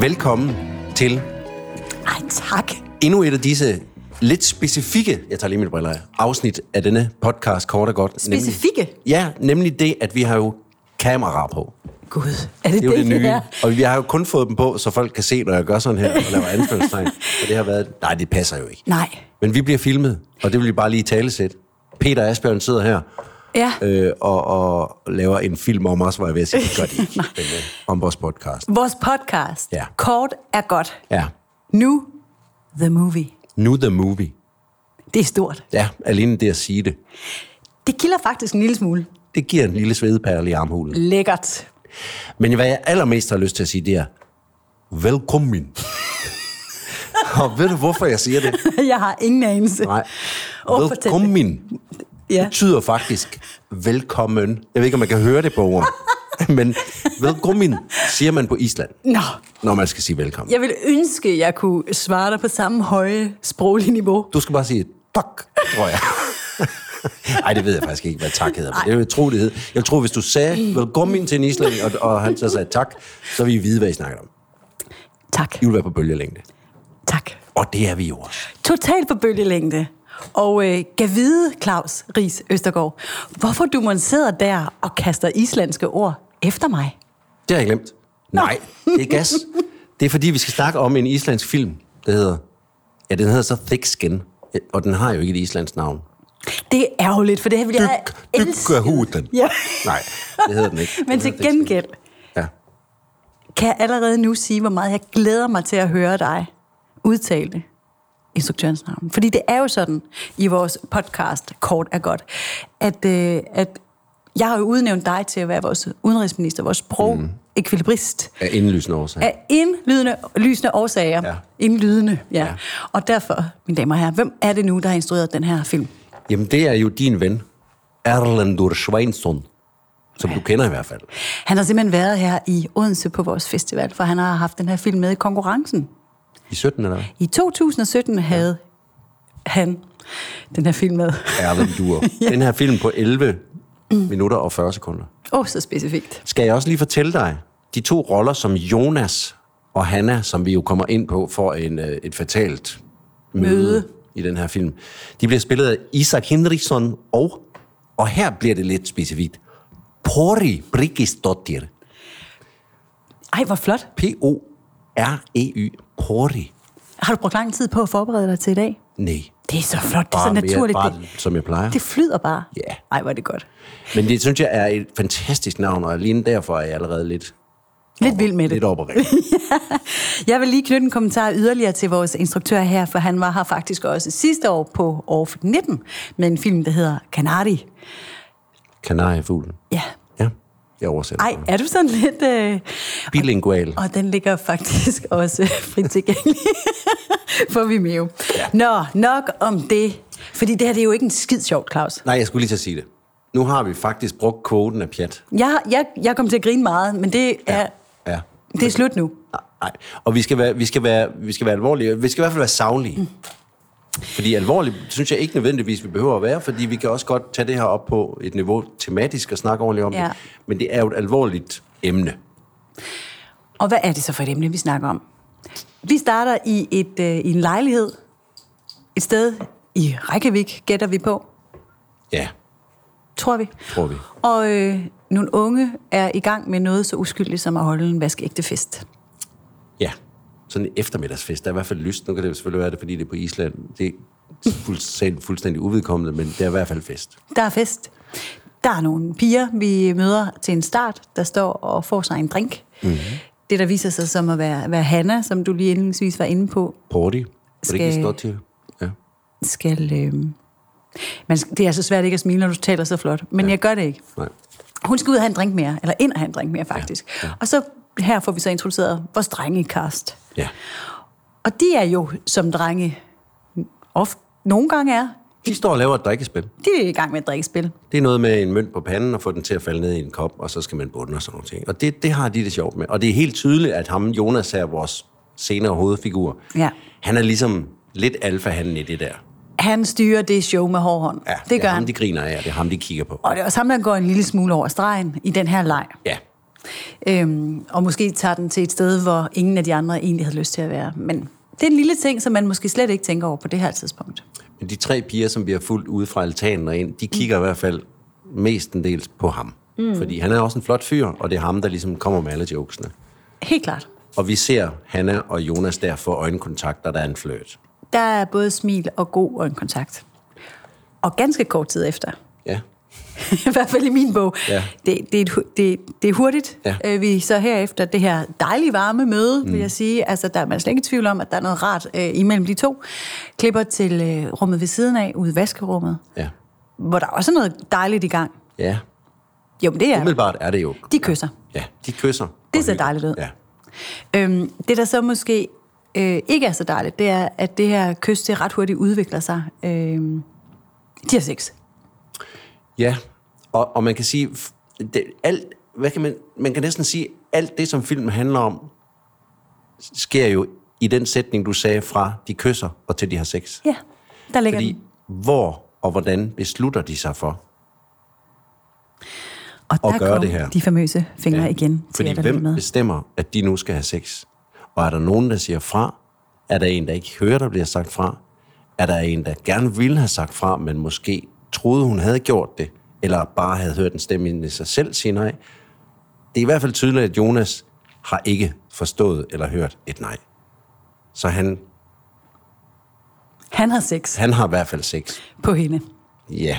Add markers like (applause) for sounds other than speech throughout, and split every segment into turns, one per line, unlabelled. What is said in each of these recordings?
velkommen til
Ej, tak.
endnu et af disse lidt specifikke, jeg tager lige mine briller af, afsnit af denne podcast, kort og godt. Nemlig-
Specifikke?
ja, nemlig det, at vi har jo kameraer på.
Gud, er det
Det er jo det nye.
er?
Og vi har jo kun fået dem på, så folk kan se, når jeg gør sådan her og laver anførselstegn. Og det har været, nej, det passer jo ikke.
Nej.
Men vi bliver filmet, og det vil vi bare lige talesæt. Peter Asbjørn sidder her
Ja. Øh.
øh, og, og laver en film om os, var jeg ved at sige, det gør de (laughs) ikke, men, øh, om vores podcast.
Vores podcast,
Ja.
kort er godt.
Ja,
Nu, the movie.
nu the movie.
Det er stort.
Ja, alene det at sige det,
Det kilder faktisk en lille smule.
det giver en lille svedperle i armhulen.
Lækkert. (laughs)
Men hvad jeg allermest har lyst til at sige, det er, velkommen. (laughs) og ved du, hvorfor jeg siger det?
Jeg har ingen anelse.
Nej.
Åh, fortæl det.
Velkommen.
Ja.
betyder faktisk velkommen. Jeg ved ikke, om man kan høre det på ordet.
(laughs)
Men velkommen siger man på Island,
Nå,
når man skal sige velkommen.
jeg vil ønske, jeg kunne svare dig på samme høje sproglige niveau.
Du skal bare sige tak, tror
(laughs)
jeg. Nej, det ved jeg faktisk ikke, hvad tak hedder. Men det er jo utrolighed. Jeg tror, hvis du sagde velkommen til en islænding, og, og han så sagde tak, så vil I vide, hvad I snakker om.
Tak.
I vil være på bølgelængde.
Tak.
Og det er vi jo også.
Total på bølgelængde. Og øh, gav vide, Claus Ries Østergaard, hvorfor du mon sidder der og kaster islandske ord efter mig?
Det har jeg glemt. Nej, det er gas. Det er fordi, vi skal snakke om en islandsk film, der hedder... Ja, den hedder så Thick Skin. Og den har jo ikke et islandsk navn.
Det er ærgerligt, for det her ville jeg have elsket.
huden.
(laughs) Ja.
Nej, det hedder den (laughs) ikke. Den
Men
hedder
til
Thick Skin.
gengæld
Ja.
kan jeg allerede nu sige, hvor meget jeg glæder mig til at høre dig udtale det, instruktørens navn. Fordi det er jo sådan i vores podcast, kort er godt, at, øh, at jeg har jo udnævnt dig til at være vores udenrigsminister, vores sprog-ekvilibrist. Mm.
Af indlysende årsag.
af indlydende lysende årsager.
Mhm. Ja.
Ja. Indlydende, ja.
Ja.
ja. Og derfor, mine damer og herrer, hvem er det nu, der har instrueret den her film?
Jamen, det er jo din ven, Erlendur Sveinsson. Som du kender i hvert fald.
Han har simpelthen været her i Odense på vores festival, for han har haft den her film med i konkurrencen.
I 17 eller hvad?
I 2017 havde han den her film med.
Erlendur. (laughs) ja. Den her film på 11 minutter og 40 sekunder.
Åh, oh, så specifikt.
Skal jeg også lige fortælle dig, de to roller som Jonas og Hanna, som vi jo kommer ind på for en, øh, et fatalt møde, møde i den her film, de bliver spillet af Isak Henriksson og, og her bliver det lidt specifikt, Pori Brigistottir.
Ej, hvor flot.
P-O-R-E-Y. E Pori.
Har du brugt lang tid på at forberede dig til i dag?
Nej.
Det er så flot. Det er så naturligt.
Mere,
det,
bare, som jeg plejer.
det flyder bare.
Ja.
Ej, hvor er det godt.
Men det synes jeg er et fantastisk navn, og alene derfor er jeg allerede lidt,
Lidt vild med det.
lidt opereret.
Jeg vil lige knytte en kommentar yderligere til vores instruktør her, for han var her faktisk også sidste år på Off 19 med en film, der hedder Canari.
Kanariefuglen.
Ja.
Ja, jeg oversætter.
Ej, er du sådan lidt... Øh...
Bilingual.
Og den ligger faktisk (laughs) også frit tilgængelig for Vimeo. Ja. Nå, nok om det. Fordi det her det er jo ikke en skid sjovt, Claus.
Nej, jeg skulle lige til at sige det. Nu har vi faktisk brugt kvoten af pjat.
Jeg, jeg, jeg kom til at grine meget, men det er, ja.
Ja.
det er slut nu.
Nej. Ah, Og vi skal, være, vi, skal være, vi skal være alvorlige. Vi skal i hvert fald være savlige. Mm. Fordi alvorligt synes jeg ikke nødvendigvis, vi behøver at være, fordi vi kan også godt tage det her op på et niveau tematisk og snakke ordentligt om
Ja.
det. Men det er jo et alvorligt emne.
Og hvad er det så for et emne, vi snakker om? Vi starter i, et, øh, i en lejlighed. Et sted i Reykjavik, gætter vi på,
Ja,
tror vi.
tror vi.
Og øh, nogle unge er i gang med noget så uskyldigt som at holde en vaskeægte fest.
Ja. Sådan en eftermiddagsfest. Der er i hvert fald lyst. Nu kan det jo selvfølgelig være det, fordi det er på Island. Det er fuldstændig, fuldstændig uvedkommende, men det er i hvert fald fest.
Der er fest. Der er nogle piger, vi møder til en start, der står og får sig en drink. Mm-hmm. Det, der viser sig som at være, være Hanna, som du lige indlændingsvis var inde på,
Porti. Skal... Det ikke
Skal-
stå til. Ja.
skal... Øh, man, skal- det er så svært ikke at smile, når du taler så flot, men ja. jeg gør det ikke.
Nej.
Hun skal ud og have en drink mere, eller ind og have en drink mere faktisk. Ja, ja. Og så her får vi så introduceret vores drengekast.
Ja.
Og de er jo, som drenge ofte nogle gange er,
De står og laver et drikkespil.
de er i gang med et drikkespil.
Det er noget med en mønt på panden og få den til at falde ned i en kop, og så skal man bunde og sådan nogle ting. Og det, det har de det sjovt med. Og det er helt tydeligt, at ham, Jonas her, vores senere hovedfigur,
Ja.
han er ligesom lidt alfahanden i det der.
Han styrer det show med hård hånd.
Ja,
det gør
er ham,
han.
de griner af, og det er ham, de kigger på.
Og det er også ham, der går en lille smule over stregen i den her leg.
Ja,
Øhm, og måske tager den til et sted, hvor ingen af de andre egentlig havde lyst til at være. Men det er en lille ting, som man måske slet ikke tænker over på det her tidspunkt.
Men de tre piger, som vi har fulgt ude fra altanen og ind, de kigger mm. i hvert fald mestendels på ham. Mm. Fordi han er også en flot fyr, og det er ham, der ligesom kommer med alle jokesene.
Helt klart.
Og vi ser Hanna og Jonas der få øjenkontakt, og der er en fløjt.
Der er både smil og god øjenkontakt. Og ganske kort tid efter, (laughs)
Ja.
i hvert fald i min bog,
Ja.
det, det, er et hu- det, det er hurtigt.
Ja.
Øh, vi så herefter det her dejlige varme møde, mm. vil jeg sige. Altså, der er man slet ikke i tvivl om, at der er noget rart øh, imellem de to. Klipper til øh, rummet ved siden af, ude i vaskerummet,
Ja.
hvor der også er noget dejligt i gang.
Ja.
Jo, men det er
Umiddelbart er det jo.
De kysser.
Ja, de kysser.
Det
og
ser
hygger.
dejligt ud.
Ja.
Øhm, det, der så måske øh, ikke er så dejligt, det er, at det her kys, det ret hurtigt udvikler sig. Øhm, de har sex.
Ja, og, og man kan sige, f- det, alt, hvad kan man, man kan næsten sige, alt det, som filmen handler om, s- sker jo i den sætning, du sagde fra, de kysser og til de har sex.
Ja, der ligger
Fordi
den.
hvor og hvordan beslutter de sig for
Og
at
der
gøre
kom
det her.
de famøse fingre ja, igen til at
Fordi
være
hvem
med.
bestemmer, at de nu skal have sex? Og er der nogen, der siger fra? Er der en, der ikke hører, der bliver sagt fra? Er der en, der gerne ville have sagt fra, men måske troede, hun havde gjort det? Eller bare havde hørt en stemme ind i sig selv sige nej? Det er i hvert fald tydeligt, at Jonas har ikke forstået eller hørt et nej. Så han,
Han har sex
han har i hvert fald sex.
på hende.
Ja,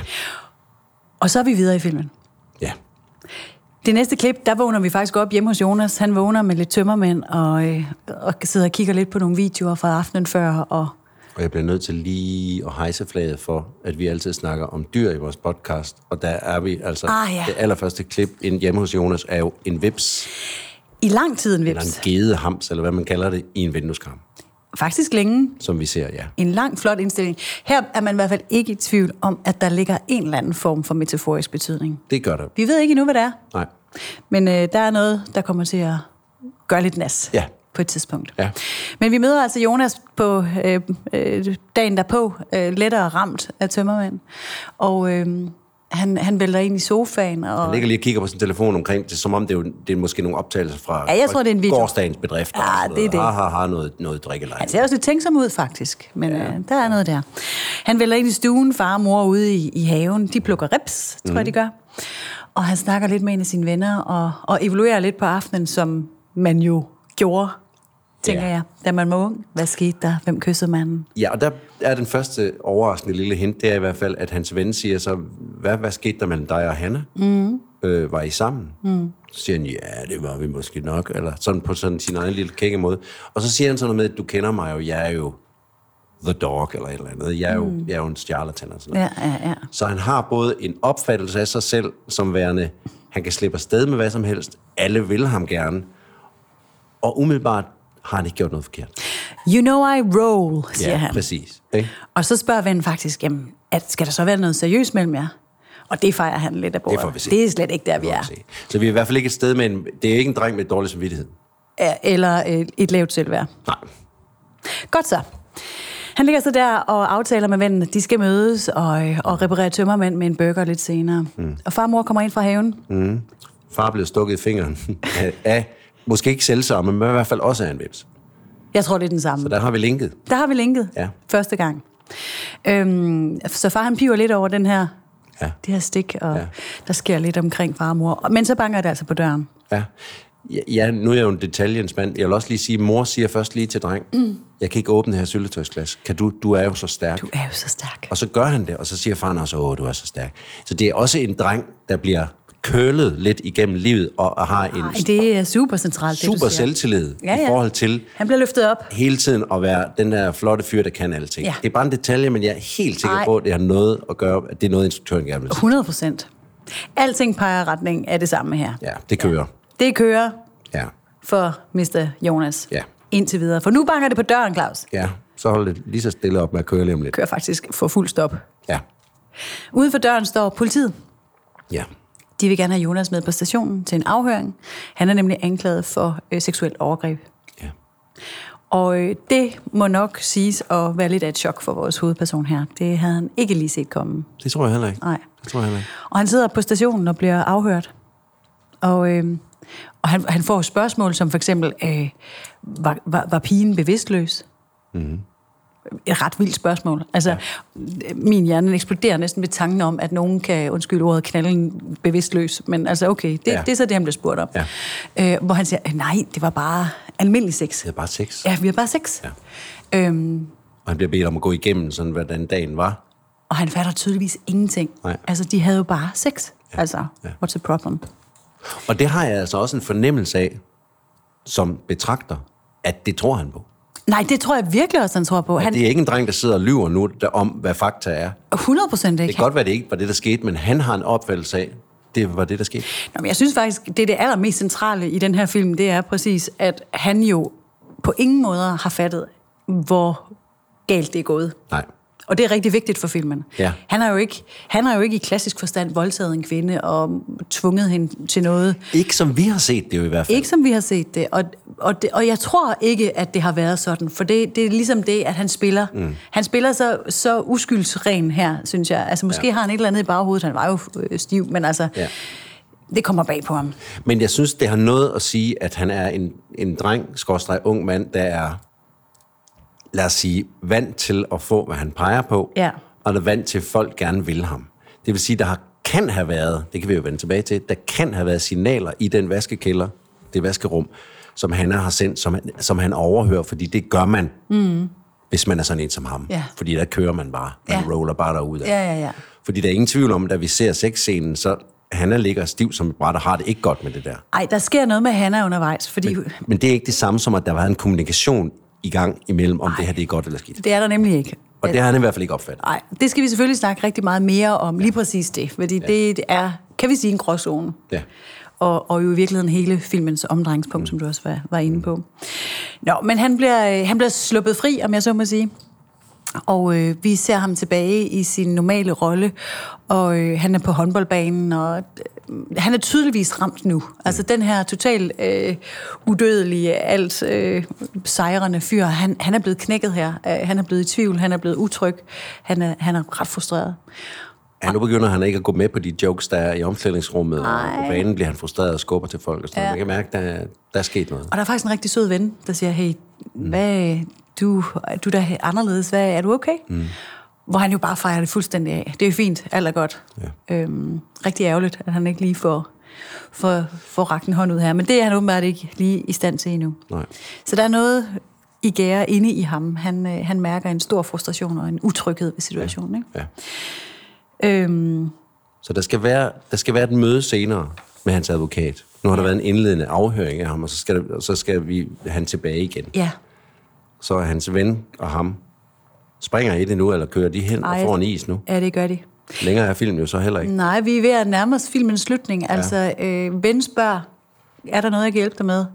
Og så er vi videre i filmen.
ja.
Det næste klip, der vågner vi faktisk op hjemme hos Jonas. Han vågner med lidt tømmermænd og, øh, og sidder og kigger lidt på nogle videoer fra aftenen før. Og
Og jeg bliver nødt til lige at hejse flaget for, at vi altid snakker om dyr i vores podcast. Og der er vi altså...
Ah, ja.
Det allerførste klip ind hjemme hos Jonas er jo en vips,
i lang tid en
eller
vips.
en gedehams, eller hvad man kalder det, i en vindueskarm,
Faktisk længe.
som vi ser, ja.
En lang, flot indstilling. Her er man i hvert fald ikke i tvivl om, at der ligger en eller anden form for metaforisk betydning.
Det gør der.
Vi ved ikke endnu, hvad det er,
Nej.
men øh, der er noget, der kommer til at gøre lidt nas
Ja.
på et tidspunkt.
Ja.
Men vi møder altså Jonas på øh, øh, dagen derpå, øh, lettere ramt af tømmermænd. Og øh, han, han vælter ind i sofaen. Og,
Jeg ligger lige og kigger på sin telefon omkring det, som om det er, jo, det er måske nogle optagelser fra
Ja, jeg tror, det er en video.
gårdsdagens bedrift.
Ja, det er det.
Har, har, har noget, noget drikkeleje.
Han ser også lidt tænksom ud, faktisk. Men ja. øh, der er noget der. Han vælger ind i stuen, far og mor ude i, i haven. De plukker rips, tror mm.
Mhm.
jeg, de gør. Og han snakker lidt med en af sine venner, og, og evaluerer lidt på aftenen, som man jo gjorde, tænker
Ja.
ja. jeg, da man var ung. Hvad skete der? Hvem kyssede manden?
Ja, og der er den første overraskende lille hint, det er i hvert fald, at hans ven siger så, hvad, hvad skete der mellem dig og Hanna? Mm. Øh, var I sammen? Mm. Så siger han, ja, det var vi måske nok, eller sådan på sådan sin egen lille kække måde. Og så siger han sådan noget med, du kender mig jo, jeg er jo the dog, eller et eller andet. Jeg er jo, mm. jeg er jo en stjarlatan, og sådan noget.
Ja, ja, ja.
Så han har både en opfattelse af sig selv som værende, han kan slippe afsted med hvad som helst, alle vil ham gerne, og umiddelbart har han ikke gjort noget forkert.
You know I roll, siger
ja,
han.
præcis. Ikke?
Og så spørger vennen faktisk, jamen, at, skal der så være noget seriøst mellem jer? Og det fejrer han lidt af bordet.
får vi se.
det er slet ikke der, vi er.
Se. Så vi er i hvert fald ikke et sted med en... Det er ikke en dreng med dårlig samvittighed.
Ja, Eller øh, et lavt selvværd.
Nej.
Godt så. Han ligger så der og aftaler med vennen, at de skal mødes og, øh, og reparere tømmermænd med en burger lidt senere. Mm. Og far og mor kommer ind fra haven. Mm.
Far blev stukket i fingeren (laughs) af, af måske ikke selvsamme, men i hvert fald også af en vips.
Jeg tror, det er den samme.
Så der har vi linket.
Der har vi linket
Ja.
første gang. Øhm, så far han piver lidt over den her,
Ja.
det her stik, og
Ja.
ja. der sker lidt omkring far og mor. Og- Men så banker det altså på døren.
Ja. Ja, Ja, nu er jeg jo en detaljens mand. Jeg vil også lige sige, mor siger først lige til dreng, mm. jeg kan ikke åbne det her syltetøjsglas. Kan du? Du er jo så stærk.
Du er jo så stærk.
Og så gør han det, og så siger faren også, åh, du er så stærk. Så det er også en dreng, der bliver kølet lidt igennem livet, og, og har en
Ej, det er super centralt, det
super
du siger.
selvtillid
Ja,
i
ja.
forhold til,
Han bliver løftet op.
hele tiden at være den der flotte fyr, der kan alting. Ja.
Ja.
Det er bare en detalje, men jeg er helt sikker Ej.
Ej.
på, at det har noget at gøre, at det er noget, instruktøren gerne vil sige.
100 procent. Alting peger i retning af det samme her.
Ja, det kører.
Det kører
Ja,
for Mr. Jonas.
Ja.
Indtil videre. For nu banker det på døren, Claus.
ja. Så hold det lige så stille op med at køre lige om lidt.
Kører faktisk for fuld stop.
Ja,
Uden for døren står politiet.
ja.
De vil gerne have Jonas med på stationen til en afhøring. Han er nemlig anklaget for øh, seksuelt overgreb.
ja.
Og øh, det må nok siges at være lidt af et chok for vores hovedperson her. Det havde han ikke lige set komme.
Det tror jeg heller ikke.
Nej.
Det tror jeg heller ikke.
Og han sidder på stationen og bliver afhørt. Og øh, Og han, han får spørgsmål som for eksempel, øh, var, var, var pigen bevidstløs? et ret vildt spørgsmål. Altså, Mhm. ja. min hjerne eksploderer næsten ved tanken om, at nogen kan, undskyld ordet, knalde en bevidstløs. Men altså, okay, det,
Ja.
ja. det er så det, han bliver spurgt om. Ja. Øh, hvor han siger, nej, det var bare almindelig sex.
Det er bare sex.
Ja, vi har bare sex. Ja. Øhm,
Og han bliver bedt om at gå igennem, sådan hvordan dagen var.
og han fatter tydeligvis ingenting.
Nej.
Altså, de havde jo bare sex. Ja. Altså, ja. what's the problem?
Og det har jeg altså også en fornemmelse af, som betragter, at det tror han på.
Nej, det tror jeg virkelig også, han tror på. Han,
Det er ikke en dreng, der sidder og lyver nu der, om, hvad fakta er.
100 procent ikke.
Det kan godt være, det ikke var det, der skete, men han har en opfattelse af, det var det, der skete.
Nå, men jeg synes faktisk, det er det allermest centrale i den her film, det er præcis, at han jo på ingen måder har fattet, hvor galt det er gået.
Nej.
Og det er rigtig vigtigt for filmen.
Ja.
Han, har jo ikke, han har jo ikke i klassisk forstand voldtaget en kvinde og tvunget hende til noget.
Ikke som vi har set det jo i hvert fald.
Ikke som vi har set det. Og, og, det, og jeg tror ikke, at det har været sådan. For det, det er ligesom det, at han spiller. Mm. Han spiller så, så uskyldsren her, synes jeg. Altså måske ja. har han et eller andet i baghovedet. Han var jo øh, stiv, men altså...
Ja.
Ja. Det kommer bag på ham.
Men jeg synes, det har noget at sige, at han er en, en dreng, skorstræk ung mand, der er, lad os sige, vant til at få, hvad han peger på,
Ja.
og der er vant til, at folk gerne vil ham. Det vil sige, der har, kan have været, det kan vi jo vende tilbage til, der kan have været signaler i den vaskekælder, det vaskerum, som han har sendt, som han, som han overhører, fordi det gør man, mm. hvis man er sådan en som ham.
Ja.
Fordi der kører man bare, man
Ja.
roller bare derudad.
Ja, ja, ja.
Fordi der er ingen tvivl om, da vi ser sexscenen, så han er ligger stiv som et bræt og har det ikke godt med det der.
Ej, der sker noget med Hanna undervejs, fordi Men...
Men det er ikke det samme som, at der var en kommunikation i gang imellem, om det her det er godt eller skidt.
det er der nemlig ikke.
Og det har han i hvert fald ikke opfattet.
Nej, det skal vi selvfølgelig snakke rigtig meget mere om, lige præcis det, fordi ja. det er, kan vi sige, en gråzone.
Ja.
Og, og jo i virkeligheden hele filmens omdrejningspunkt, mm. som du også var, var inde på. Nå, men han bliver, øh, han bliver sluppet fri, om jeg så må sige. Og øh, vi ser ham tilbage i sin normale rolle, og øh, han er på håndboldbanen, og øh, han er tydeligvis ramt nu. Altså den her totalt øh, udødelige, alt øh, sejrende fyr, han, han er blevet knækket her. Øh, han er blevet i tvivl, han er blevet utryg, han er, han er ret frustreret.
Ja, nu begynder han ikke at gå med på de jokes, der er i omklædningsrummet, og på banen bliver han frustreret og skubber til folk. Og sådan. Ja. Man kan mærke, der, der er sket noget.
Og der er faktisk en rigtig sød ven, der siger, hey, hvad, du, du er da anderledes, hvad, er du okay? Mm. Hvor han jo bare fejrer det fuldstændig af. Det er jo fint, alt er godt. Ja. Øhm, rigtig ærgerligt, at han ikke lige får, får, får rakt en hånd ud her. Men det er han åbenbart ikke lige i stand til endnu.
Nej.
Så der er noget i gære inde i ham. Han, øh, han mærker en stor frustration og en utryghed ved situationen.
Ja.
Ikke? Øhm,
Så der skal, være, der skal være et møde senere med hans advokat. Nu har der været en indledende afhøring af ham, og så skal, der, så skal vi han tilbage igen.
ja,
Så er hans ven og ham springer i det nu, eller kører de hen
Ej. Mm.
og får en is nu.
ja, det gør de.
Længere er filmen jo så heller ikke.
Nej, vi er ved at nærme os filmens slutning. Altså, øh, ven spørger, er der noget, jeg kan hjælpe dig med?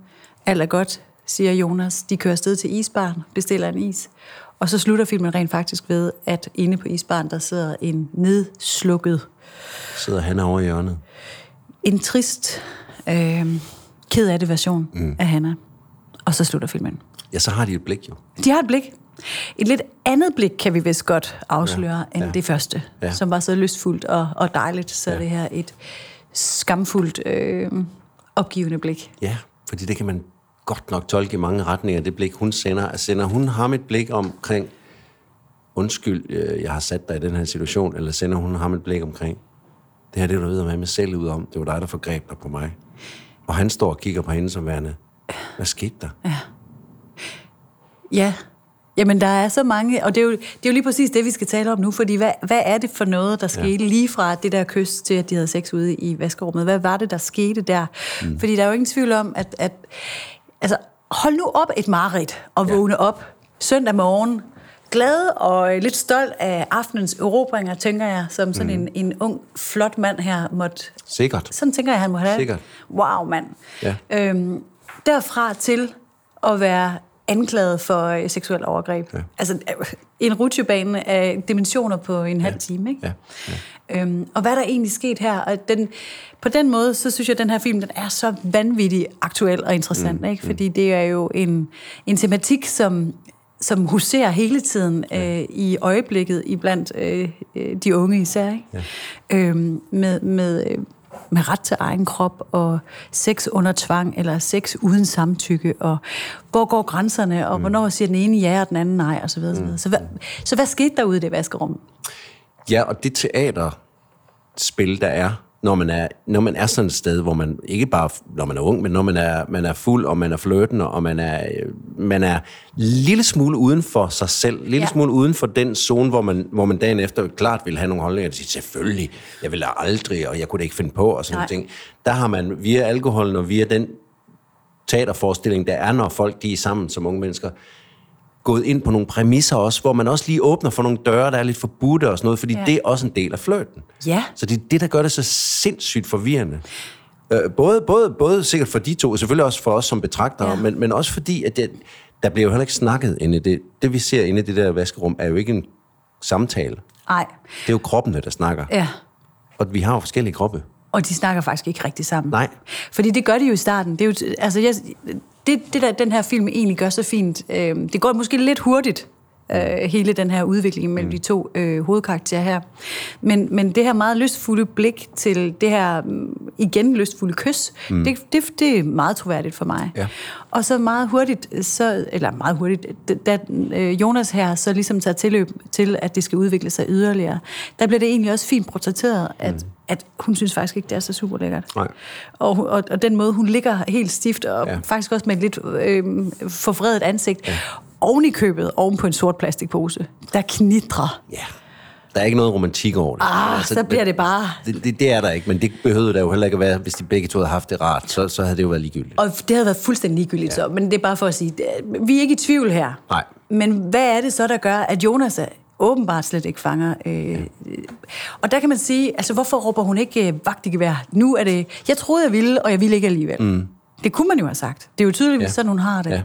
Alt er godt, siger Jonas. De kører afsted til isbaren, bestiller en is. Og så slutter filmen rent faktisk ved, at inde på isbaren, der sidder en nedslukket,
Sidder han over i hjørnet.
en trist, øh, ked af det version mm. af Hanna. Og så slutter filmen.
Ja, så har de et blik jo.
De har et blik. Et lidt andet blik kan vi vist godt afsløre ja, end
ja.
ja. det første,
Ja.
ja. som var så lystfuldt og, og dejligt. Så
Ja.
ja. det her et skamfuldt, øh, opgivende blik.
Ja, fordi det kan man godt nok tolke i mange retninger, det blik, hun sender. Altså, sender hun ham et blik omkring, undskyld, øh, jeg har sat dig i den her situation, eller sender hun ham et blik omkring, det her det er du ved at være med selv ud om, det var dig, der forgreb dig på mig. Og han står og kigger på hende som værende, hvad skete der?
Ja. Jamen, der er så mange, og det er, jo, det er jo lige præcis det, vi skal tale om nu, fordi hvad, hvad er det for noget, der skete ja. lige fra det der kys til, at de havde sex ude i vaskerummet? Hvad var det, der skete der? Mm. Fordi der er jo ingen tvivl om, at, at altså, hold nu op et mareridt og
Ja.
ja. vågne op søndag morgen, glad og øh, lidt stolt af aftenens erobringer, tænker jeg, som sådan mm. en, en ung, flot mand her måtte
Sikkert.
sådan tænker jeg, han må have det.
Sikkert.
Wow, mand.
Ja.
Øhm, derfra til at være anklaget for øh, seksuel overgreb. Ja. Altså øh, en rutsjebane af dimensioner på en halv time. Ikke?
Ja.
Øhm, og hvad er der egentlig sket her? Og den, på den måde, så synes jeg, at den her film den er så vanvittig aktuel og interessant. Mm, ikke? Fordi det er jo en, en tematik, som som huserer hele tiden øh, i øjeblikket i blandt øh, øh, de unge især, ikke? Ja. Øhm, med, med øh, med ret til egen krop, og sex under tvang, eller sex uden samtykke, og hvor går grænserne, og mm. hvornår siger den ene ja, og den anden nej, og så videre. Mm. Så, videre. Så, hvad, så hvad skete der ude i det vaskerum?
Ja, og det teaterspil, der er, når man er, når man er sådan et sted, hvor man ikke bare, når man er ung, men når man er, man er fuld, og man er flirtende, og man er, øh, man er lille smule uden for sig selv, lille
Ja.
ja. smule uden for den zone, hvor man, hvor man dagen efter klart vil have nogle holdninger, og sige, selvfølgelig, jeg vil da aldrig, og jeg kunne da ikke finde på, og sådan
Nej.
nogle ting. Der har man via alkoholen og via den teaterforestilling, der er, når folk de er sammen som unge mennesker, gået ind på nogle præmisser også, hvor man også lige åbner for nogle døre, der er lidt forbudte og sådan noget, fordi
Ja.
ja. det er også en del af flirten.
Ja.
Så det er det, der gør det så sindssygt forvirrende. Øh, både, både, både sikkert for de to, og selvfølgelig også for os som betragtere,
Ja.
ja. men, men også fordi, at det, der bliver jo heller ikke snakket inde i det. Det, vi ser inde i det der vaskerum, er jo ikke en samtale.
Nej.
Det er jo kroppene, der snakker. Ja.
Ja.
Og vi har jo forskellige kroppe.
Og de snakker faktisk ikke rigtig sammen.
Nej.
Fordi det gør de jo i starten. Det, er jo, altså, jeg, det, det der, den her film egentlig gør så fint, øh, det går måske lidt hurtigt, øh, hele den her udvikling mellem mm. de to øh, hovedkarakterer her. Men, men det her meget lystfulde blik til det her mm, igen lystfulde kys, mm. det, det, det er meget troværdigt for mig.
Ja.
Og så meget hurtigt, så, eller meget hurtigt, da øh, Jonas her så ligesom tager tilløb til, at det skal udvikle sig yderligere, der bliver det egentlig også fint portrætteret, at, mm. at hun synes faktisk ikke, det er så super lækkert.
Nej.
Og, og, og den måde, hun ligger helt stift, og ja.
Ja.
faktisk også med et lidt øh, forvredet ansigt, ja. oven i købet, oven på en sort plastikpose, der knitrer.
Ja. Der er ikke noget romantik over det. Altså,
Ah, så bliver det bare...
Det, det, det er der ikke, men det behøvede der jo heller ikke at være, hvis de begge to havde haft det rart, så, så havde det jo været ligegyldigt.
Og det havde været fuldstændig ligegyldigt ja. så, men det er bare for at sige, det- vi er ikke i tvivl her.
Nej.
Men hvad er det så, der gør, at Jonas er åbenbart slet ikke fanger? Øh, ja. Og der kan man sige, altså hvorfor råber hun ikke øh, vagt i gevær? Nu er det, jeg troede, jeg ville, og jeg ville ikke alligevel. Mm. Det kunne man jo have sagt. Det er jo tydeligvis ja.
Ja.
sådan, hun har det. Ja.
Ja.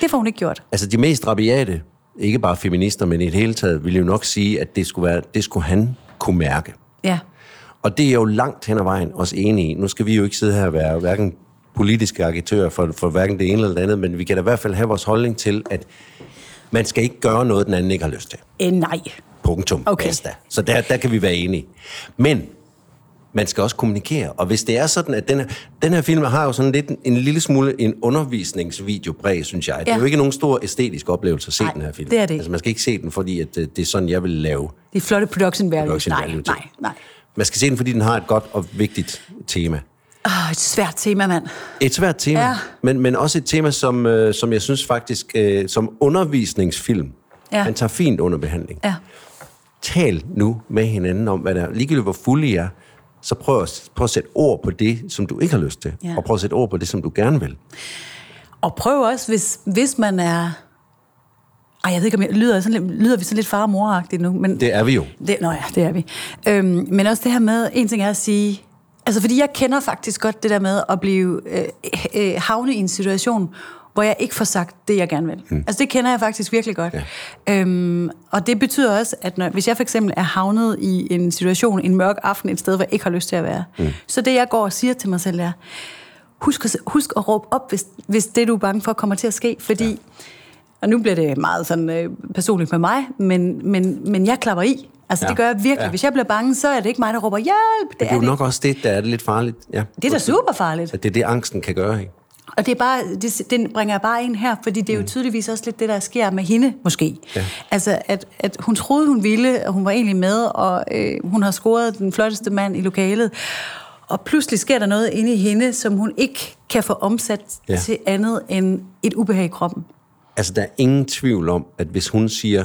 Det får hun ikke gjort.
Altså de mest rabiate, ikke bare feminister, men i det hele taget, ville jo nok sige, at det skulle, være, det skulle han kunne mærke.
Ja.
Og det er jeg jo langt hen ad vejen også enig i. Nu skal vi jo ikke sidde her og være hverken politiske agitører for, for hverken det ene eller det andet, men vi kan da i hvert fald have vores holdning til, at man skal ikke gøre noget, den anden ikke har lyst til.
Øh, nej.
Punktum.
Okay.
Basta. Så der, der kan vi være enige. Men man skal også kommunikere. Og hvis det er sådan, at den her, den her film har jo sådan lidt en, en lille smule en undervisningsvideopræg, synes jeg. Det er
Ja.
jo ikke nogen stor æstetisk oplevelse at se
Nej,
den her film.
det er det ikke.
Altså, man skal ikke se den, fordi at, øh, det er sådan, jeg vil lave.
Det er flotte production value.
Production
nej,
value til.
nej, nej.
Man skal se den, fordi den har et godt og vigtigt tema.
Åh, et svært tema, mand.
Et svært tema,
Ja.
ja. men, men også et tema, som, øh, som jeg synes faktisk, øh, som undervisningsfilm,
Ja.
ja. man tager fint under behandling.
Ja.
Tal nu med hinanden om, hvad der er. Ligegyldigt hvor fulde I er, så prøv at, prøv at sætte ord på det, som du ikke har lyst til.
Ja.
Ja. Og prøv at sætte ord på det, som du gerne vil.
Og prøv også, hvis, hvis man er... Ej, jeg ved ikke, om jeg lyder, sådan lidt, lyder vi sådan lidt far og mor nu, men...
Det er vi jo.
Det, nå ja, det er vi. Øhm, men også det her med, en ting er at sige, altså fordi jeg kender faktisk godt det der med at blive øh, øh, havne i en situation, hvor jeg ikke får sagt det, jeg gerne vil. Mm. Altså det kender jeg faktisk virkelig godt. Ja. Øhm, og det betyder også, at når, hvis jeg for eksempel er havnet i en situation, en mørk aften, et sted, hvor jeg ikke har lyst til at være, mm. så det jeg går og siger til mig selv er, husk at, husk at råbe op, hvis, hvis det, du er bange for, kommer til at ske. Fordi, ja. og nu bliver det meget sådan, øh, personligt med mig, men, men, men jeg klapper i. Altså, ja.
Ja.
det gør jeg virkelig. Ja.
Ja.
Hvis jeg bliver bange, så er det ikke mig, der råber hjælp. Det
Det er, jo
det.
nok også det, der er det lidt farligt. Ja.
det er da super farligt.
At det er det, angsten kan gøre, ikke?
Og det, er bare, det, den bringer jeg bare ind her, fordi
Mm.
det er jo tydeligvis også lidt det, der sker med hende, måske. Ja. Altså, at, at hun troede, hun ville, og hun var egentlig med, og øh, hun har scoret den flotteste mand i lokalet. Og pludselig sker der noget inde i hende, som hun ikke kan få omsat ja.
Ja.
til andet end et ubehag i kroppen.
Altså, der er ingen tvivl om, at hvis hun siger,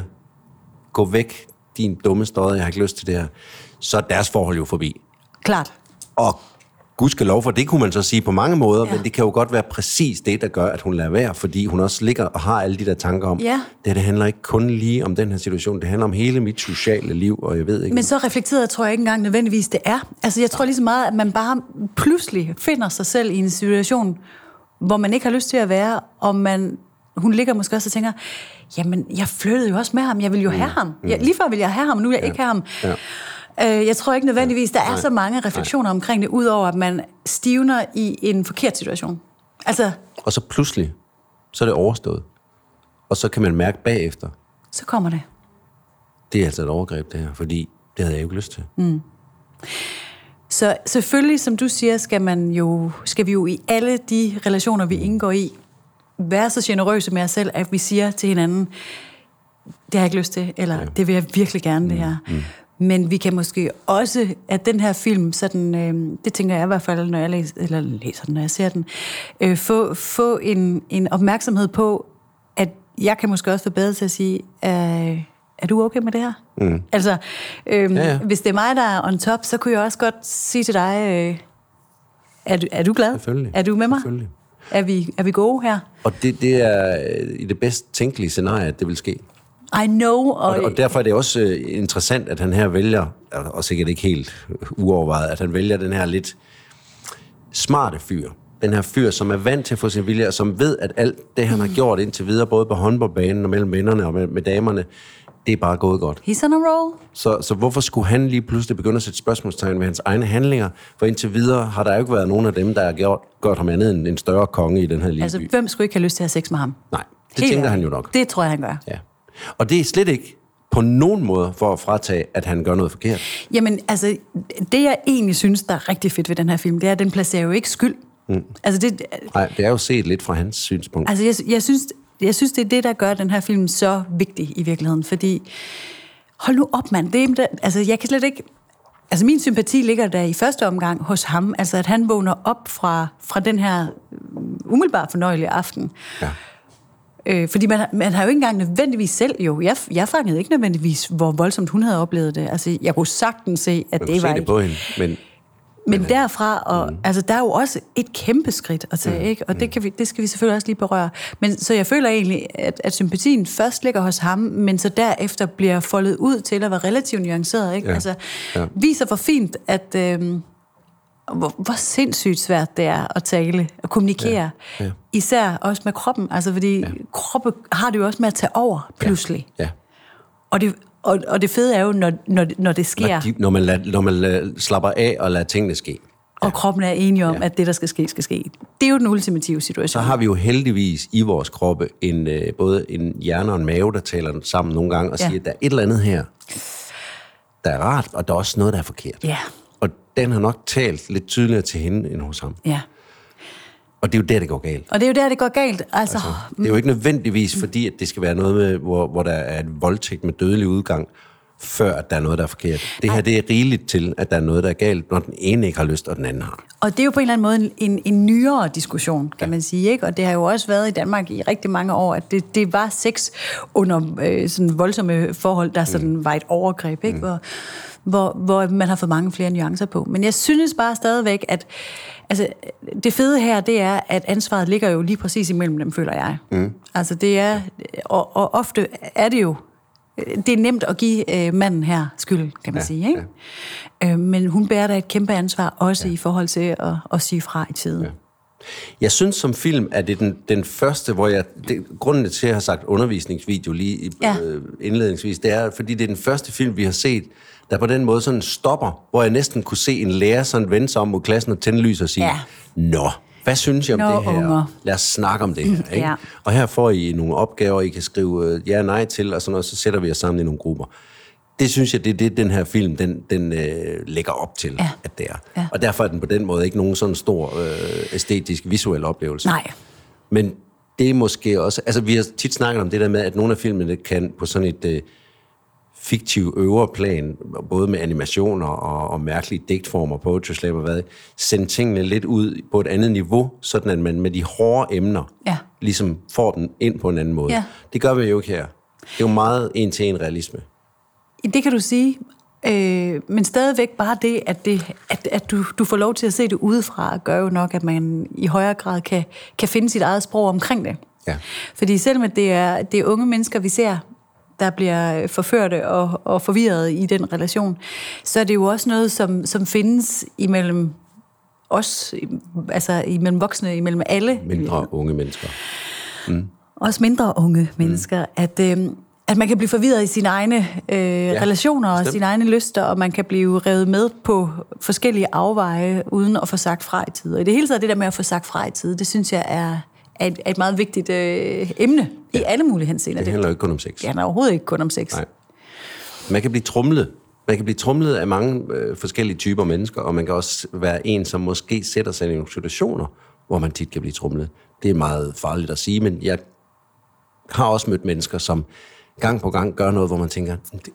gå væk, din dumme støder, jeg har ikke lyst til det her, så er deres forhold jo forbi.
Klart.
Og gudskelov for, det kunne man så sige på mange måder,
Ja.
ja. men det kan jo godt være præcis det, der gør, at hun lader være, fordi hun også ligger og har alle de der tanker om,
Ja.
det, her, det handler ikke kun lige om den her situation, det handler om hele mit sociale liv, og jeg ved ikke...
Men så reflekteret tror jeg ikke engang nødvendigvis, det er. Altså, jeg tror lige så meget, at man bare pludselig finder sig selv i en situation, hvor man ikke har lyst til at være, og man, hun ligger måske også og tænker, jamen, jeg flyttede jo også med ham, jeg vil jo have ham. Jeg, lige før ville jeg have ham, nu vil jeg Mm. ja. ikke have ham. Ja. Øh, jeg tror ikke nødvendigvis, der er så mange refleksioner omkring det, udover at man stivner i en forkert situation. Altså,
Og så pludselig, så er det overstået. Og så kan man mærke bagefter,
så kommer det.
det er altså et overgreb det her, fordi det havde jeg jo ikke lyst til. Mm.
Så selvfølgelig, som du siger, skal, man jo, skal vi jo i alle de relationer, vi indgår i, være så generøse med os selv, at vi siger til hinanden, det har jeg ikke lyst til, eller ja. det vil jeg virkelig gerne, det her. Mm. Men vi kan måske også, at den her film, sådan, øh, det tænker jeg i hvert fald, når jeg læser, eller læser den, når jeg ser den, øh, få, få en, en opmærksomhed på, at jeg kan måske også være bedre til at sige, øh, er du okay med det her? Mm. Altså, øh,
Ja, ja.
hvis det er mig, der er on top, så kunne jeg også godt sige til dig, øh, er, du, er du glad?
Selvfølgelig.
Er du med mig?
Selvfølgelig.
Er vi, er vi gode her?
Og det, det er øh, i det bedst tænkelige scenarie, at det vil ske.
I know. Og,
Og, og derfor er det også øh, interessant, at han her vælger, og og sikkert ikke helt uovervejet, at han vælger den her lidt smarte fyr. Den her fyr, som er vant til at få sin vilje, og som ved, at alt det, han har
Mm.
gjort indtil videre, både på håndboldbanen og mellem vennerne og med, med damerne, det er bare gået godt.
He's on a roll.
Så, så hvorfor skulle han lige pludselig begynde at sætte spørgsmålstegn ved hans egne handlinger? For indtil videre har der jo ikke været nogen af dem, der har gjort, gjort ham andet end en større konge i den her lille
Altså,
by.
hvem skulle ikke have lyst til at have sex med ham?
Nej, det
Helt
tænker han jo
ærligt.
nok.
Det tror jeg, han gør.
Ja. Og det er slet ikke på nogen måde for at fratage, at han gør noget forkert.
Jamen, altså, det jeg egentlig synes, der er rigtig fedt ved den her film, det er, at den placerer jo ikke skyld. Mm. Altså, det,
Nej, det er jo set lidt fra hans synspunkt.
altså jeg, jeg, synes, jeg synes, det er det, der gør den her film så vigtig i virkeligheden, fordi hold nu op, mand. Det er, der- altså, jeg kan slet ikke... Altså, min sympati ligger der i første omgang hos ham. Altså, at han vågner op fra, fra den her øh, umiddelbart fornøjelige aften.
Ja.
Øh, fordi man, har- man har jo ikke engang nødvendigvis selv jo. Jeg, jeg fangede ikke nødvendigvis, hvor voldsomt hun havde oplevet det. Altså, jeg kunne sagtens se, at
Man
det
kunne
var
se
ikke...
det på hende, men
Men derfra, og, mm. altså, der er jo også et kæmpe skridt at tage, mm. ikke? og det, kan vi, det skal vi selvfølgelig også lige berøre. Men, så jeg føler egentlig, at, at sympatien først ligger hos ham, men så derefter bliver foldet ud til at være relativt nuanceret. Ikke?
Ja.
Altså,
Ja.
Viser for fint, at øhm, hvor, hvor sindssygt svært det er at tale og kommunikere.
Ja. Ja.
Især også med kroppen, altså, fordi ja. kroppen har det jo også med at tage over pludselig. Ja.
ja.
Og, det, og, og det fede er jo, når, når, når det sker,
Når, de, når man, lad, når man lad, slapper af og lader tingene ske,
og kroppen er enige om,
Ja.
ja. at det, der skal ske, skal ske. Det er jo den ultimative
så
situation.
har vi jo heldigvis i vores kroppe en, øh, både en hjerne og en mave, der taler sammen nogle gange og
Ja.
siger, at der er et eller andet her, der er rart, og der er også noget, der er forkert.
Ja,
Og den har nok talt lidt tydeligere til hende end hos ham.
ja.
Og det er jo der, det går galt.
Og det er jo der, det går galt. Altså, altså
Det er jo ikke nødvendigvis, fordi at det skal være noget, med, hvor, hvor der er en voldtægt med dødelig udgang, før at der er noget, der er forkert. Det her det er rigeligt til, at der er noget, der er galt, når den ene ikke har lyst, og den anden har.
og det er jo på en eller anden måde en, en, en nyere diskussion, kan ja. man sige. Ikke? Og det har jo også været i Danmark i rigtig mange år, at det, det var sex under øh, sådan voldsomme forhold, der sådan mm. var et overgreb, ikke? Mm. Hvor, hvor, hvor man har fået mange flere nuancer på. Men jeg synes bare stadigvæk, at altså, det fede her, det er, at ansvaret ligger jo lige præcis imellem dem, føler jeg. Mm. Altså det er, og, og ofte er det jo øh, det er nemt at give øh, manden her skyld, kan man ja, sige. Ikke? Ja. (laughs) Øh, men hun bærer da et kæmpe ansvar, også ja. i forhold til at, at sige fra i tide. Ja.
Jeg synes som film, at det er den, den første, hvor jeg... Det, grunden til, at jeg har sagt undervisningsvideo lige i, ja.
Ja.
øh, indledningsvis, det er, fordi det er den første film, vi har set, der på den måde sådan stopper, hvor jeg næsten kunne se en lærer sådan vende sig om mod klassen og tænde lys og sige, ja.
Ja.
Nå, hvad synes jeg om
Nå,
det her?
unger."
Lad os snakke om det her. Ikke?
Ja.
Og her får I nogle opgaver, I kan skrive øh, ja og nej til, og sådan noget, så sætter vi jer sammen i nogle grupper. Det synes jeg, det er det, den her film, den, den øh, lægger op til, ja.
Ja.
at det er. Ja.
Ja.
Og derfor er den på den måde ikke nogen sådan stor øh, æstetisk, visuel oplevelse.
Nej.
Men det er måske også... Altså, vi har tit snakket om det der med, at nogle af filmene kan på sådan et øh, fiktiv øvre plan, både med animationer og, og mærkelige digtformer, poetry slam og hvad, sende tingene lidt ud på et andet niveau, sådan at man med de hårde emner
Ja.
ligesom får den ind på en anden måde.
Ja.
Det gør vi jo ikke her. Det er jo meget en-til-en realisme.
Det kan du sige, øh, men stadigvæk bare det, at, det, at, at du, du får lov til at se det udefra, gør jo nok, at man i højere grad kan, kan finde sit eget sprog omkring det.
Ja.
Fordi selvom at det er, det er unge mennesker, vi ser, der bliver forførte og, og forvirret i den relation, så er det jo også noget, som, som findes imellem os, altså imellem voksne, imellem alle,
Mindre unge mennesker.
også mindre unge mennesker, mm. at, øh, at man kan blive forvirret i sine egne øh, ja, relationer og
bestemt.
sine egne lyster, og man kan blive revet med på forskellige afveje, uden at få sagt fra i tide. Og i det hele taget, det der med at få sagt fra i tide, det synes jeg er, er, et, er et meget vigtigt øh, emne ja. i alle mulige henseender.
Det
Det,
handler jo ikke kun om sex.
det handler overhovedet ikke kun om sex.
Nej. Man kan blive trumlet Man kan blive trumlet af mange øh, forskellige typer mennesker, og man kan også være en, som måske sætter sig i nogle situationer, hvor man tit kan blive trumlet. Det er meget farligt at sige, men jeg har også mødt mennesker, som gang på gang gør noget, hvor man tænker, "Det-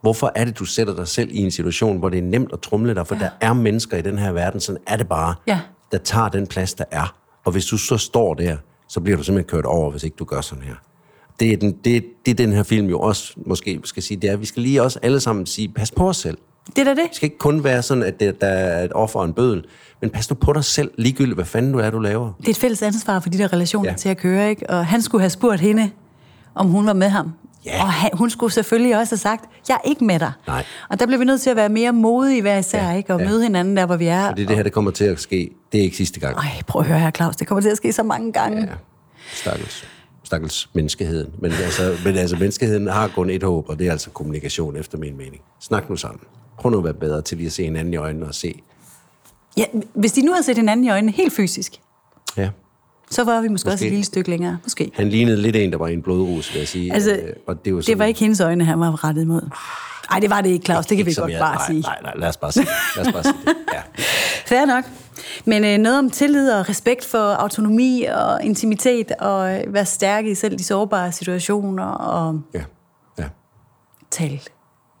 hvorfor er det, du sætter dig selv i en situation, hvor det er nemt at trumle dig, for ja. der er mennesker i den her verden, sådan er det bare,
Ja.
der tager den plads, der er. Og hvis du så står der, så bliver du simpelthen kørt over, hvis ikke du gør sådan her. Det er, den, det, det er den her film jo også måske skal sige, det er, at vi skal lige også alle sammen sige, pas på os selv.
Det er da det.
Det skal ikke kun være sådan, at det, der er et offer og en bødel, men pas nu på dig selv, ligegyldigt hvad fanden du er, du laver.
Det er et fælles ansvar for de der relationer
Ja.
ja. til at køre, ikke? Og han skulle have spurgt hende, om hun var med ham.
Ja.
Og han, hun skulle selvfølgelig også have sagt, jeg er ikke med dig.
Nej.
Og der bliver vi nødt til at være mere modige hver især,
Ja,
ja. ikke? Og
ja.
ja. møde hinanden der, hvor vi er.
Og det er det her, der kommer til at ske. Det er ikke sidste gang.
Ej, prøv at høre her, Claus. Det kommer til at ske så mange gange.
Ja, stakkels, stakkels menneskeheden. Men altså, men altså, menneskeheden har kun et håb, og det er altså kommunikation, efter min mening. Snak nu sammen. Prøv nu at være bedre til lige at se hinanden i øjnene og se.
Ja, hvis de nu havde set hinanden i øjnene helt fysisk,
Ja.
så var vi måske, måske. også
Måske.
et lille stykke længere. Måske.
Han lignede lidt en, der var i en blodrus, vil jeg sige.
Altså,
Øh, og det, var
Det var ikke hendes øjne, han var rettet imod. Nej, det var det ikke, Claus. Det kan vi
som
godt
jeg-
bare
nej,
sige.
Nej, nej, lad os bare sige, lad os bare sige det. Ja.
(laughs) Fair nok. Men øh, noget om tillid og respekt for autonomi og intimitet og øh, være stærke i selv de sårbare situationer og
Ja. ja.
tale.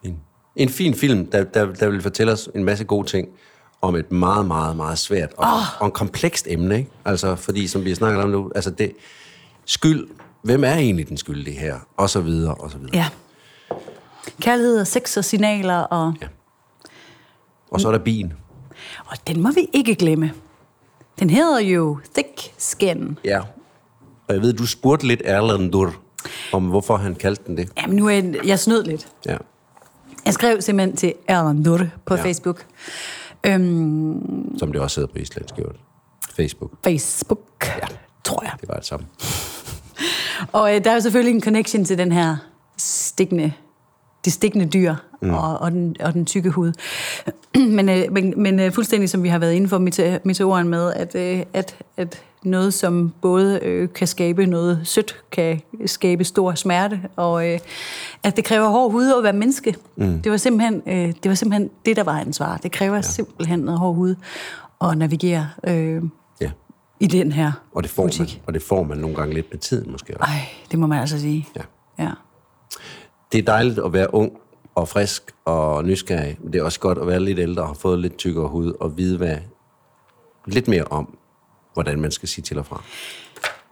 En, en fin film, der, der, der vil fortælle os en masse gode ting om et meget, meget, meget svært og,
Ah.
oh. og en komplekst emne. Ikke? Altså, fordi som vi snakker om nu, altså det, skyld, hvem er egentlig den skyldige her? Og så videre, og så videre.
Ja. Kærlighed og sex og signaler, og,
Og så er der bien.
og den må vi ikke glemme. Den hedder jo Thick Skin.
Ja. Og jeg ved, du spurgte lidt Erlandur, om hvorfor han kaldte den det.
Jamen, nu er jeg, jeg snød lidt.
Ja.
Jeg skrev simpelthen til Erland Nurre på
Ja.
ja. Facebook. Øhm,
Som det også hedder på islandsk, jo. Facebook.
Facebook, ja. tror jeg.
Det var alt sammen.
Og øh, der er jo selvfølgelig en connection til den her stikkende, det stikkende dyr mm. og, og, den, og den tykke hud. (clears throat) men øh, men, men øh, fuldstændig som vi har været inde for mete- meteoren med, at, øh, at, at noget, som både øh, kan skabe noget sødt, kan skabe stor smerte, og øh, at det kræver hård hud at være menneske. Mm. Det, var simpelthen, øh, det var simpelthen det, der var hans svar. Det kræver ja. simpelthen noget hård hud at navigere øh,
Ja.
i den her
Og det får, man,
butik.
og det får man nogle gange lidt med tiden, måske. også.
Ej, det må man altså sige.
Ja.
ja.
Det er dejligt at være ung og frisk og nysgerrig. Men det er også godt at være lidt ældre og have fået lidt tykkere hud og vide hvad, lidt mere om, hvordan man skal sige til og
(laughs)
fra.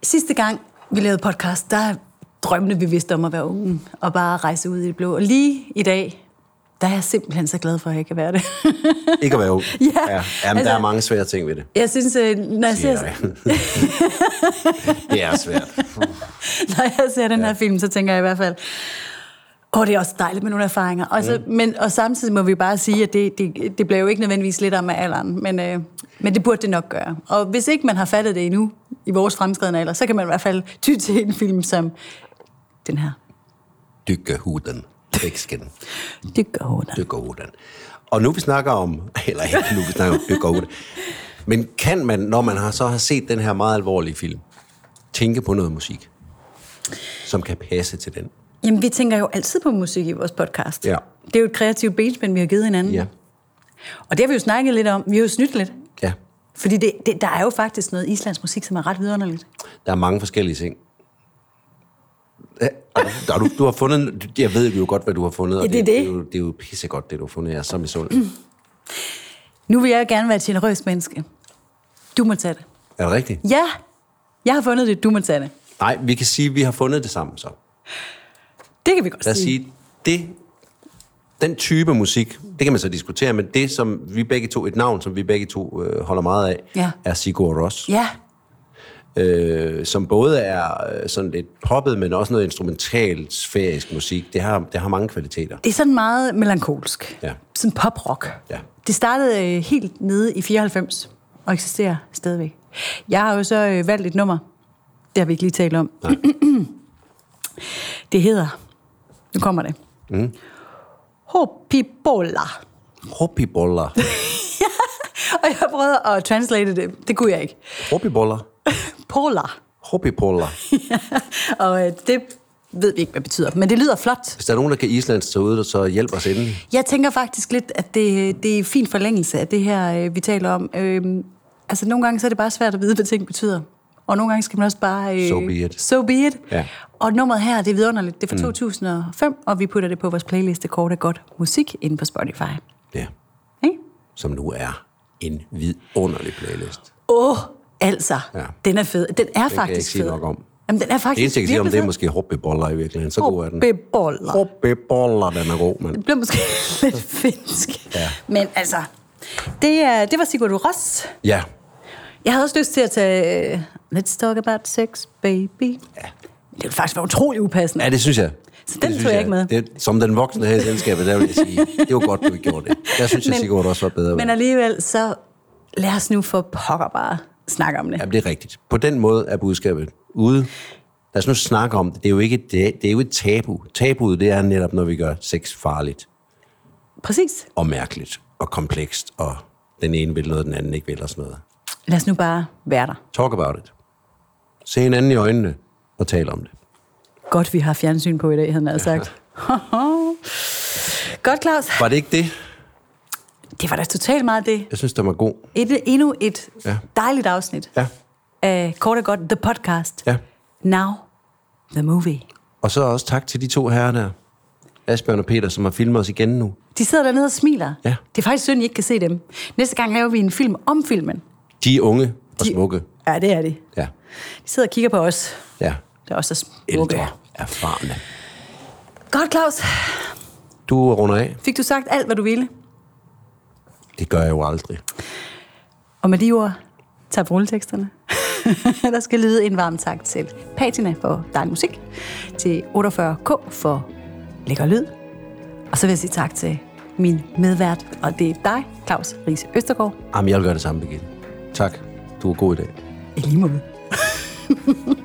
Sidste gang, vi lavede podcast, der drømte vi vist om at være unge og bare rejse ud i det blå. Og lige i dag, der er jeg simpelthen så glad for, at jeg kan være det. (laughs)
Ikke at være ung.
Ja,
ja. Jamen, altså, der
altså-
er mange svære ting ved det.
Jeg synes, øh, når jeg, ser,
Ja. (laughs) det er svært.
(laughs) når jeg ser den her film, så tænker jeg i hvert fald, åh, det er også dejligt med nogle erfaringer. Og, så, men, og samtidig må vi bare sige, at det, det, det bliver jo ikke nødvendigvis lidt om af alderen, men, øh, men det burde det nok gøre. Og hvis ikke man har fattet det endnu, i vores fremskridende alder, så kan man i hvert fald ty til en film som den her.
Dykke huden. Væksken.
Dykker hårdt.
Dykke huden. Og nu vi snakker om, eller ikke nu vi snakker om dykke huden, men kan man, når man har, så har set den her meget alvorlige film, tænke på noget musik, som kan passe til den?
Jamen, vi tænker jo altid på musik i vores podcast.
Ja.
Det er jo et kreativt benspænd, vi har givet hinanden.
Ja.
Og det har vi jo snakket lidt om. Vi har jo snydt lidt.
Ja,
Fordi det, det, der er jo faktisk noget islands musik, som er ret vidunderligt.
der er mange forskellige ting. Ja, og Du, du har fundet, jeg ved jo godt, hvad du har fundet, og
Ja, det er
det,
det.
er jo, det er jo pissegodt, det du har fundet. Jeg er så misundelig.
Nu vil jeg jo gerne være et generøst menneske. Du må tage det.
Er det rigtigt?
Ja, jeg har fundet det. Du må tage det.
Nej, vi kan sige, at vi har fundet det sammen så.
Det kan vi godt
Lad os
sige.
sige, det, den type musik, det kan man så diskutere, men det, som vi begge to, et navn, som vi begge to øh, holder meget af,
Ja.
er Sigur Ros.
Ja,
øh, som både er øh, sådan lidt poppet, men også noget instrumentalt sfærisk musik. Det har, det har mange kvaliteter.
det er sådan meget melankolsk.
Ja.
Sådan poprock.
Ja.
Det startede øh, helt nede i 94 og eksisterer stadigvæk. Jeg har jo så øh, valgt et nummer. Det har vi ikke lige talt om.
Nej.
(clears throat) Det hedder... Nu kommer det. Mm. Hopibola.
Hoppiboller.
Og jeg prøvede at translate det. Det kunne jeg ikke.
Hoppiboller.
Pola.
Hoppiboller.
og øh, det ved vi ikke, hvad det betyder, men det lyder flot.
Hvis der er nogen, der kan islandsk derude, så hjælp os endelig.
Jeg tænker faktisk lidt, at det, det er fin forlængelse af det her, øh, vi taler om. Øhm, altså, nogle gange så er det bare svært at vide, hvad ting betyder. Og nogle gange skal man også bare... øh,
So be it.
So be it.
Ja. Mm.
Og nummeret her, det er vidunderligt. Det er fra 2005, og vi putter det på vores playliste Kort og Godt Musik inde på Spotify.
Ja,
Ikke?
som nu er en vidunderlig playlist.
Åh, altså.
Ja.
Den er fed. Den er den faktisk
jeg ikke sige
fed.
nok om.
Jamen, den er faktisk
Det eneste, jeg kan sige om det, er
virkelig
måske hoppeboller i virkeligheden. Så
fed.
god er den.
Hoppeboller.
Hoppeboller, den er god, mand.
Det blev måske (laughs) lidt finsk. Ja. Men altså, det, er, det var Sigurd Ross.
Ja,
Jeg havde også lyst til at tage... øh, Let's talk about sex, baby. Ja. Det ville faktisk være utrolig upassende.
ja det synes jeg.
Så
Det
den
synes
tog jeg ikke med.
Det, som den voksne her i selskabet, der vil jeg sige, det var godt, du ikke gjorde det. Jeg synes, jeg
(laughs) Men-
Sigurd også var bedre.
Men
Men,
alligevel, så lad os nu for pokker bare snakke om det.
Jamen, det er rigtigt. På den måde er budskabet ude. Lad os nu snakke om det. Det er jo, ikke, det, det er jo et tabu. Tabuet, det er netop, når vi gør sex farligt.
Præcis.
og mærkeligt og komplekst, og den ene vil noget, den anden ikke vil, og sådan noget.
Lad os nu bare være der.
Talk about it. Se hinanden i øjnene og tal om det.
Godt, vi har fjernsyn på i dag, havde han sagt. (laughs) Godt, Claus.
Var det ikke det?
Det var da totalt meget det.
Jeg synes, det var god.
Et, endnu et
Ja.
dejligt afsnit
Ja,
af Kort og Godt, The Podcast.
ja.
Now, The Movie.
Og så også tak til de to herrer der. Asbjørn og Peter, som har filmet os igen nu.
De sidder dernede og smiler.
Ja.
Det er faktisk synd, I ikke kan se dem. Næste gang laver vi en film om filmen.
De er unge og smukke.
Ja, det er de.
Ja,
De sidder og kigger på os.
ja.
Det er også så smukke.
Ældre, erfarne.
Godt, Claus.
Du runder af.
Fik du sagt alt, hvad du ville?
Det gør jeg jo aldrig.
Og med de ord, tag på rulleteksterne. (laughs) Der skal lyde en varm tak til Patina for dejlig musik, til 48K for lækker lyd, og så vil jeg sige tak til min medvært, og det er dig, Claus Riese Østergaard.
Jamen, jeg vil gøre det samme, Birgitte. Tak. Du er god i dag.
I lige måde.